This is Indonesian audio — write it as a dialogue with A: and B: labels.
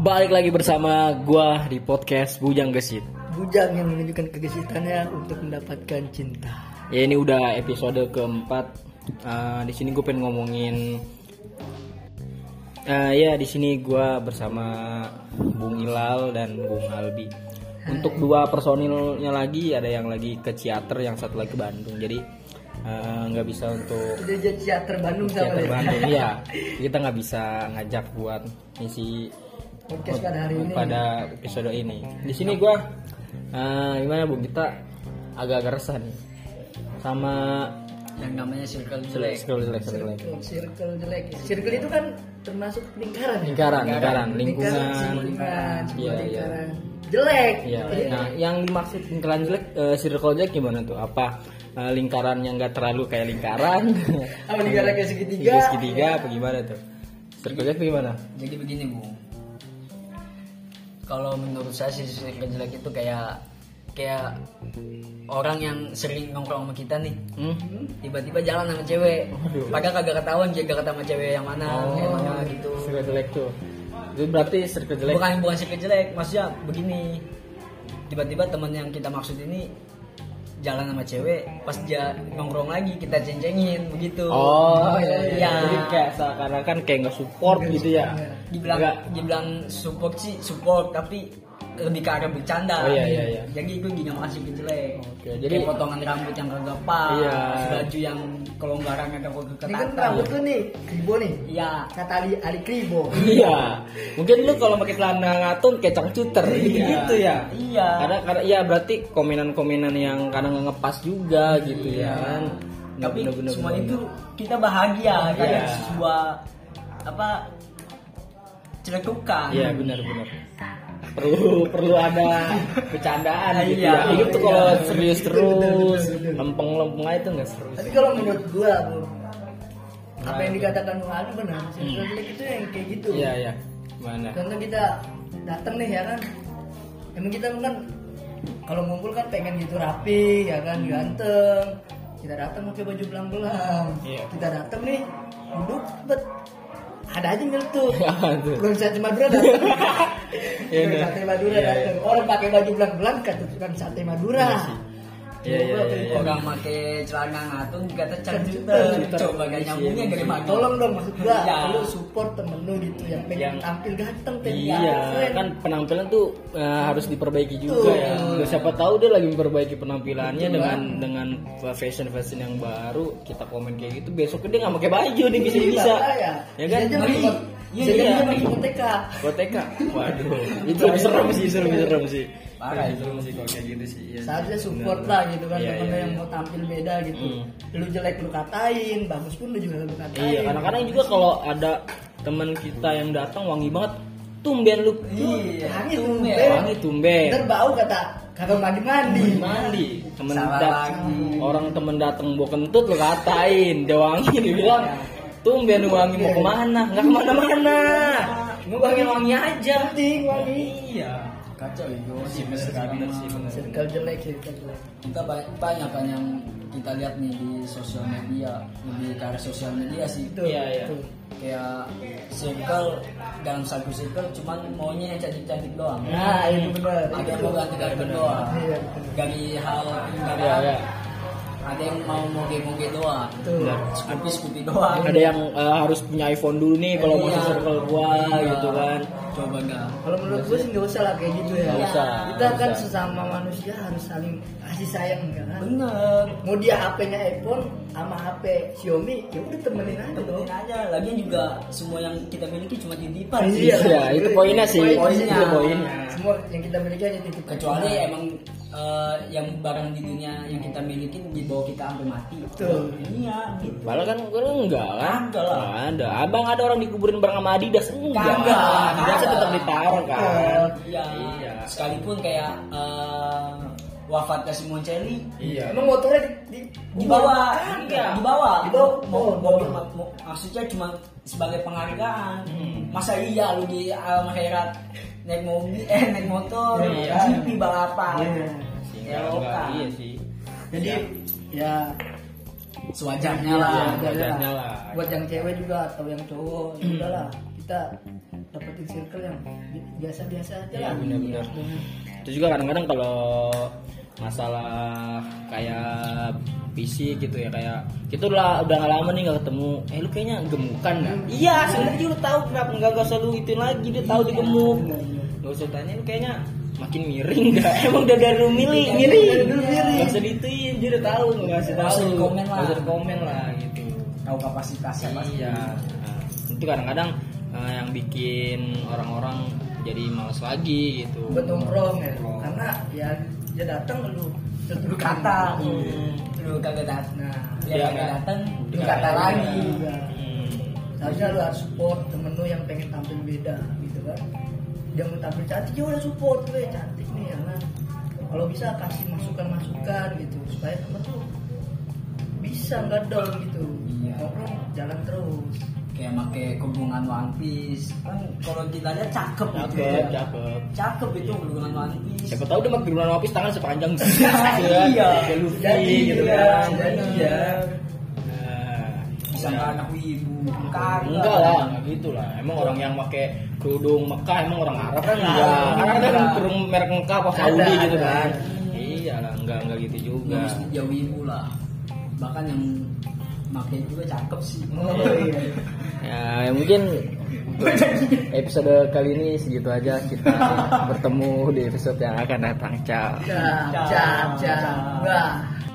A: Balik lagi bersama gua di podcast Bujang Gesit.
B: Bujang yang menunjukkan kegesitannya untuk mendapatkan cinta.
A: Ya ini udah episode keempat. Eh, di sini gue pengen ngomongin. Eh, ya di sini gua bersama Bung Ilal dan Bung Albi. Untuk dua personilnya lagi ada yang lagi ke Ciater, yang satu lagi ke Bandung. Jadi eh, nggak bisa untuk
B: Kita jadi teater Bandung sama
A: Ciater
B: ya.
A: Bandung. Iya, kita nggak bisa ngajak buat ngisi
B: Podcast pada hari ini.
A: pada episode ini. Di sini gua eh, gimana Bu kita agak-agak resah nih sama
C: yang namanya circle jelek
A: circle jelek, circle jelek.
B: Circle- Circle jelek. ya. Circle itu kan termasuk lingkaran. ya?
A: Lingkaran, lingkaran,
B: Lingkaran,
A: lingkungan.
B: sebuah lingkaran, sebuah
A: Iya, iya.
B: lingkaran. Jelek.
A: Iya.
B: Jadi,
A: Nah, yang dimaksud lingkaran jelek eh, circle jelek gimana tuh? Apa eh, lingkaran yang enggak terlalu kayak lingkaran?
B: Apa lingkaran kayak segitiga?
A: Tiga segitiga apa gimana tuh? Circle jelek tuh gimana?
C: jadi begini bu kalau menurut saya sih circle jelek itu kayak kayak orang yang sering nongkrong sama kita nih
A: Hmm?
C: tiba-tiba jalan sama cewek padahal kagak ketahuan dia kagak sama cewek yang mana
A: Oh,
C: yang mana gitu
A: Circle jelek tuh. Itu berarti circle jelek.
C: bukan bukan circle jelek maksudnya begini tiba-tiba teman yang kita maksud ini jalan sama cewek pas dia nongkrong lagi kita cencengin begitu
A: Oh, iya, iya.
C: Iya.
A: Jadi kayak seakan-akan kayak nggak support gitu ya.
C: dibilang
A: Nggak.
C: dibilang support sih support tapi lebih ke arah bercanda
A: Oh, iya, iya, iya.
C: jadi itu dinamasi gitu jelek
A: Oke, jadi-
C: jadi potongan rambut yang kagak pas
A: Iya.
C: baju yang kelonggaran agak kagak
B: ini kan
C: ketata
B: rambut lu nih, kribo nih.
C: iya
B: Kata Ali, Ali kribo.
A: Iya. Mungkin lu kalau pakai celana ngatung kayak cangcuter gitu ya.
C: iya
A: Karena karena iya berarti komenan-komenan yang kadang nggak ngepas juga gitu ya kan. Bener-
C: Iya. tapi
A: bener- bener-
C: semua
A: bener.
C: itu kita bahagia
A: Iya.
C: kayak sebuah apa celetukan
A: Iya benar-benar. Perlu perlu ada bercandaan gitu
C: Iya,
A: ya. Hidup tuh kalau
B: iya.
A: serius
B: Betul, betul,
A: terus,
B: betul, betul.
A: lempeng-lempeng aja tuh nggak seru.
B: Tapi kalau menurut gua, Bu, apa yang dikatakan Bung Ali benar. Circle jelek itu yang kayak gitu.
A: Iya iya. Mana?
B: Contoh kita datang nih ya kan. Emang kita kan kalau ngumpul kan pengen gitu rapi ya kan ganteng. Kita datang pakai baju belang-belang.
A: Iya.
B: Kita datang nih duduk bet. Ada aja nyeletuk.
A: Apa tuh?
B: Belum sate Madura datang.
A: Iya,
B: Belum
A: iya.
B: sate Madura
A: Iya, iya.
B: datang. Orang pakai baju belang-belang kata tukang sate Madura.
A: Iya sih. Iya iya
B: Coba
A: iya,
B: tuh,
A: iya.
C: orang pakai celana ngatung dikata
B: Cangcuter.
C: cangcuter coba
A: Iya,
C: gak nyambungnya dari mana
B: Tolong dong maksud gua,
C: Iya.
B: lu support temen lu gitu yang pengen
A: Yang-
B: tampil ganteng, pengen
A: Iya,
B: ganteng.
A: kan penampilan tuh
C: Hmm.
A: eh, harus diperbaiki juga ya. Nggak Siapa tahu dia lagi memperbaiki penampilannya dengan dengan fashion fashion yang baru. Kita komen kayak gitu, besok dia nggak pakai baju nih bisa
C: Iya,
A: bisa.
B: ya,
A: Ya kan?
B: Bisa aja
A: Beli.
B: masuk-
A: Iya,
B: bisa
A: iya.
B: aja masuk TK.
A: Kotk, waduh, itu lebih serem sih, serem serem sih.
C: Iya. Parah itu.
A: serem sih kalau kayak gitu sih. Iya.
B: Seharusnya support lah gitu kan
A: Iya,
B: temen
A: iya, Hmm.
B: yang mau tampil beda gitu. Lu jelek lu katain, bagus pun lu juga lu katain.
A: Iya, kadang-kadang juga kalau ada teman kita yang datang wangi banget, tumben lu
C: Iya,
B: Wangi
C: itu
B: tumben.
C: Mel.
A: wangi tumben.
B: Ntar bau kata kagak mandi mandi.
A: mandi temen
C: Salah
A: dat-
C: lagi.
A: orang temen dateng bawa kentut lu katain dia wangi dia bilang tumben lu wangi mau kemana nggak kemana-mana mau wangi wangi aja
B: Penting wangi.
A: iya
C: kacau itu sih
A: bener sih, bener.
B: Circle jelek circle jelek.
C: kita ba- banyak kan yang kita lihat nih di sosial media lebih ke arah sosial media sih
B: Itu.
A: Iya, iya.
B: itu.
C: kayak circle dalam satu circle cuman maunya yang cantik-cantik doang
A: Iya,
B: Nah, itu benar.
C: ada yang
A: Gitu.
B: Itu.
C: mau ganti-ganti doang
B: Iya, betul.
C: dari hal dari
A: Iya, iya.
C: ada yang mau moge-moge doang
B: Itu.
C: skupi-skupi doang
A: ada yang eh, harus punya iPhone dulu nih kalau mau
C: Iya.
A: masuk circle gua
C: Iya.
A: gitu kan
C: coba enggak
B: Kalau menurut gue sih nggak usah lah kayak gitu ya.
A: Nggak usah,
B: Kita
A: nggak
B: kan
A: usah.
B: sesama manusia harus saling kasih sayang kan.
C: bener
B: mau dia HP-nya iPhone sama HP Xiaomi ya udah temenin aja dong
C: Temenin aja lagi juga semua yang kita miliki cuma titipan sih.
A: Iya. itu poinnya sih.
C: Poinnya.
B: itu poinnya semua yang kita miliki aja titip
C: kecuali emang eh, yang barang di dunia yang kita miliki dibawa kita sampai mati
B: Betul.
C: iya gitu
A: Padahal kan gue enggak lah.
C: Enggak lah.
A: Nggak ada. Abang ada orang dikuburin bareng sama Adidas enggak.
C: Kagak.
A: Adidas
C: Kagak.
A: tetap ditaruh kan.
C: iya,
A: Iya.
C: sekalipun kayak eh, wafatnya Simon Celi
A: Iya.
B: emang motornya di, di,
C: di bawah iya,
B: Kagak.
C: di bawah
B: Di bawah.
C: Mau-
B: Oh,
C: mau-
B: di bawah.
C: mau- maksudnya cuma sebagai penghargaan
A: Hmm.
C: masa iya lu di alam akhirat naik mobil eh naik motor
A: Iya.
C: GP balapan
B: Iya.
A: Sehingga
C: ya lo
A: enggak,
C: kan
A: Iya sih.
B: jadi ya
C: sewajarnya
B: Iya,
C: lah
B: sewajarnya
A: Wajarnya lah.
B: buat yang cewek juga atau yang cowok ya udahlah kita dapetin circle yang bi- biasa-biasa aja
A: Iya,
B: lah
A: benar-benar. Terus juga kadang-kadang kalau masalah kayak fisik gitu ya kayak kita udah udah nggak lama nih nggak ketemu eh lu kayaknya gemukan nggak iya sebenarnya lu tahu kenapa nggak gak usah lu itu lagi dia tahu dia gemuk Iya. nggak usah tanya lu kayaknya makin miring nggak emang udah dari lu miring miring nggak usah dituin dia udah tahu nggak usah
C: Nggak
A: tahu
C: usah dikomen lah.
A: nggak usah komen lah gitu
C: tahu kapasitasnya pasti
A: Iya. Nah, itu kadang-kadang eh, yang bikin orang-orang jadi malas lagi gitu.
B: buat nongkrong ya
A: Nongkrong.
B: karena ya dia datang lu terus lu kata
C: Iya.
A: Hmm.
C: lu kagak datang
B: nah
C: dia
A: Iya,
C: kagak
A: kan?
C: datang
B: lu
A: Iya.
B: kata lagi
C: Iya.
A: Hmm.
B: harusnya lu harus support temen lu yang pengen tampil beda gitu kan dia mau tampil cantik ya udah support gue cantik nih ya kan kalau bisa kasih masukan masukan gitu supaya temen tuh bisa nggak down gitu
C: Iya.
B: ngobrol jalan terus
C: kayak make hubungan One Piece kan kalau kita lihat cakep,
B: Iya.
C: gitu
A: Cakep, cakep.
C: cakep itu hubungan One Piece
A: Siapa tahu dia makin bulan lapis tangan sepanjang
C: Iya.
A: Kayak Luffy
B: Jadi,
A: gitu
B: iya,
A: kan.
B: jadi,
A: Iya.
B: iya.
A: Nah,
C: bisa
A: iya.
C: nggak anak wibu kagak
A: Enggak lah, enggak gitu lah. Emang orang yang pakai kerudung Mekah emang orang Arab kan
C: Enggak.
A: enggak. Karena kan
C: Enggak.
A: kerudung merek Mekah apa
B: Iya, Ada,
A: Saudi gitu
B: ada.
A: kan. Iya lah, enggak enggak gitu
C: Nggak
A: juga.
C: mesti dia wibu lah bahkan yang make juga cakep sih
A: Ya, ya mungkin untuk episode kali ini segitu aja kita bertemu di episode yang akan datang. Ciao.
B: cap
C: Cap,
B: cap
C: cap.
B: cap wah